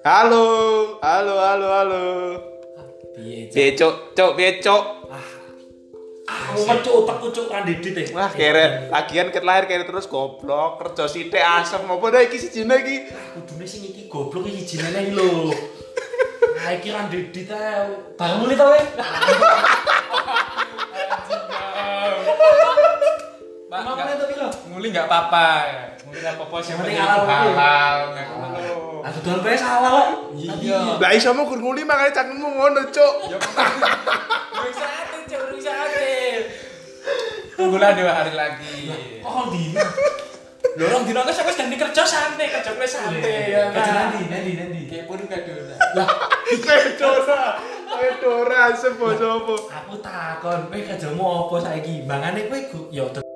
Halo, halo, halo, halo. Piye, Cok? Piye cok, cok, piye cok. Aku mencuk utekku cuk kan didit eh. Wah, kere. Lagian ket lahir kere terus goblok, kerja sithik asem apa dah iki sijine iki. Kudune sing iki goblok iki jinene iki lho. Nah, iki kan didit ae. Barang muli ta we? Pak, Emang nggak- muli ta piro? nguli nggak apa-apa ya. Nguli nggak apa-apa sih. Yang penting penting halal, Pak. halal, nggak apa-apa. Aku dol pe salah kok. Oh. Iya. Lah iso mau gur nguli makane cangkemmu ngono, cok. Bisa ate, Cuk, bisa ate. Tunggulah dua hari lagi. Kok kon dino? Lho, orang dino kan sampe ganti kerja santai, kerja gue santai ya. Kerja nanti, nanti, nanti. Kayak pun gak dulu. Fedora, Fedora asem bos apa? Aku takon, kowe kerjamu apa saiki? Mangane kowe go- ya